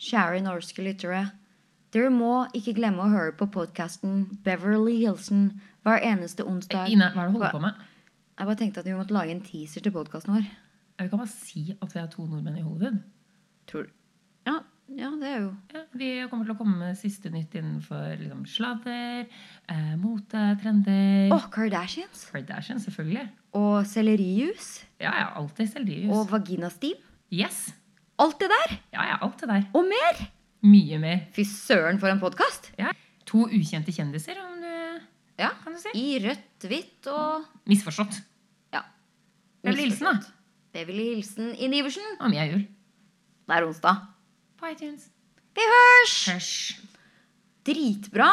kjære norske lyttere. Dere må ikke glemme å høre på podkasten Beverly Hilsen hver eneste onsdag. Ine, hva er det du holder på med? Jeg bare tenkte at vi måtte lage en teaser til podkasten vår. Vi kan bare si at vi er to nordmenn i Hollywood. Tror du? Ja, ja, det er jo Ja, vi kommer til å komme med siste nytt innenfor liksom, sladder, eh, mote, trender Å, Kardashians! Kardashian, selvfølgelig. Og sellerijus. Ja, ja, alltid selvdius. Og vaginastim. Yes! Alt det der! Ja, ja, alt det der. Og mer! Mye mer. Fy søren, for en podkast! Ja. To ukjente kjendiser, om du, Ja. kan du si. I rødt, hvitt og Misforstått. Ja. Beverly Hilsen, da. Beverly Hilsen i Niversen. Om jeg jul. Det er onsdag. På iTunes. Vi hørs! Hush. Dritbra!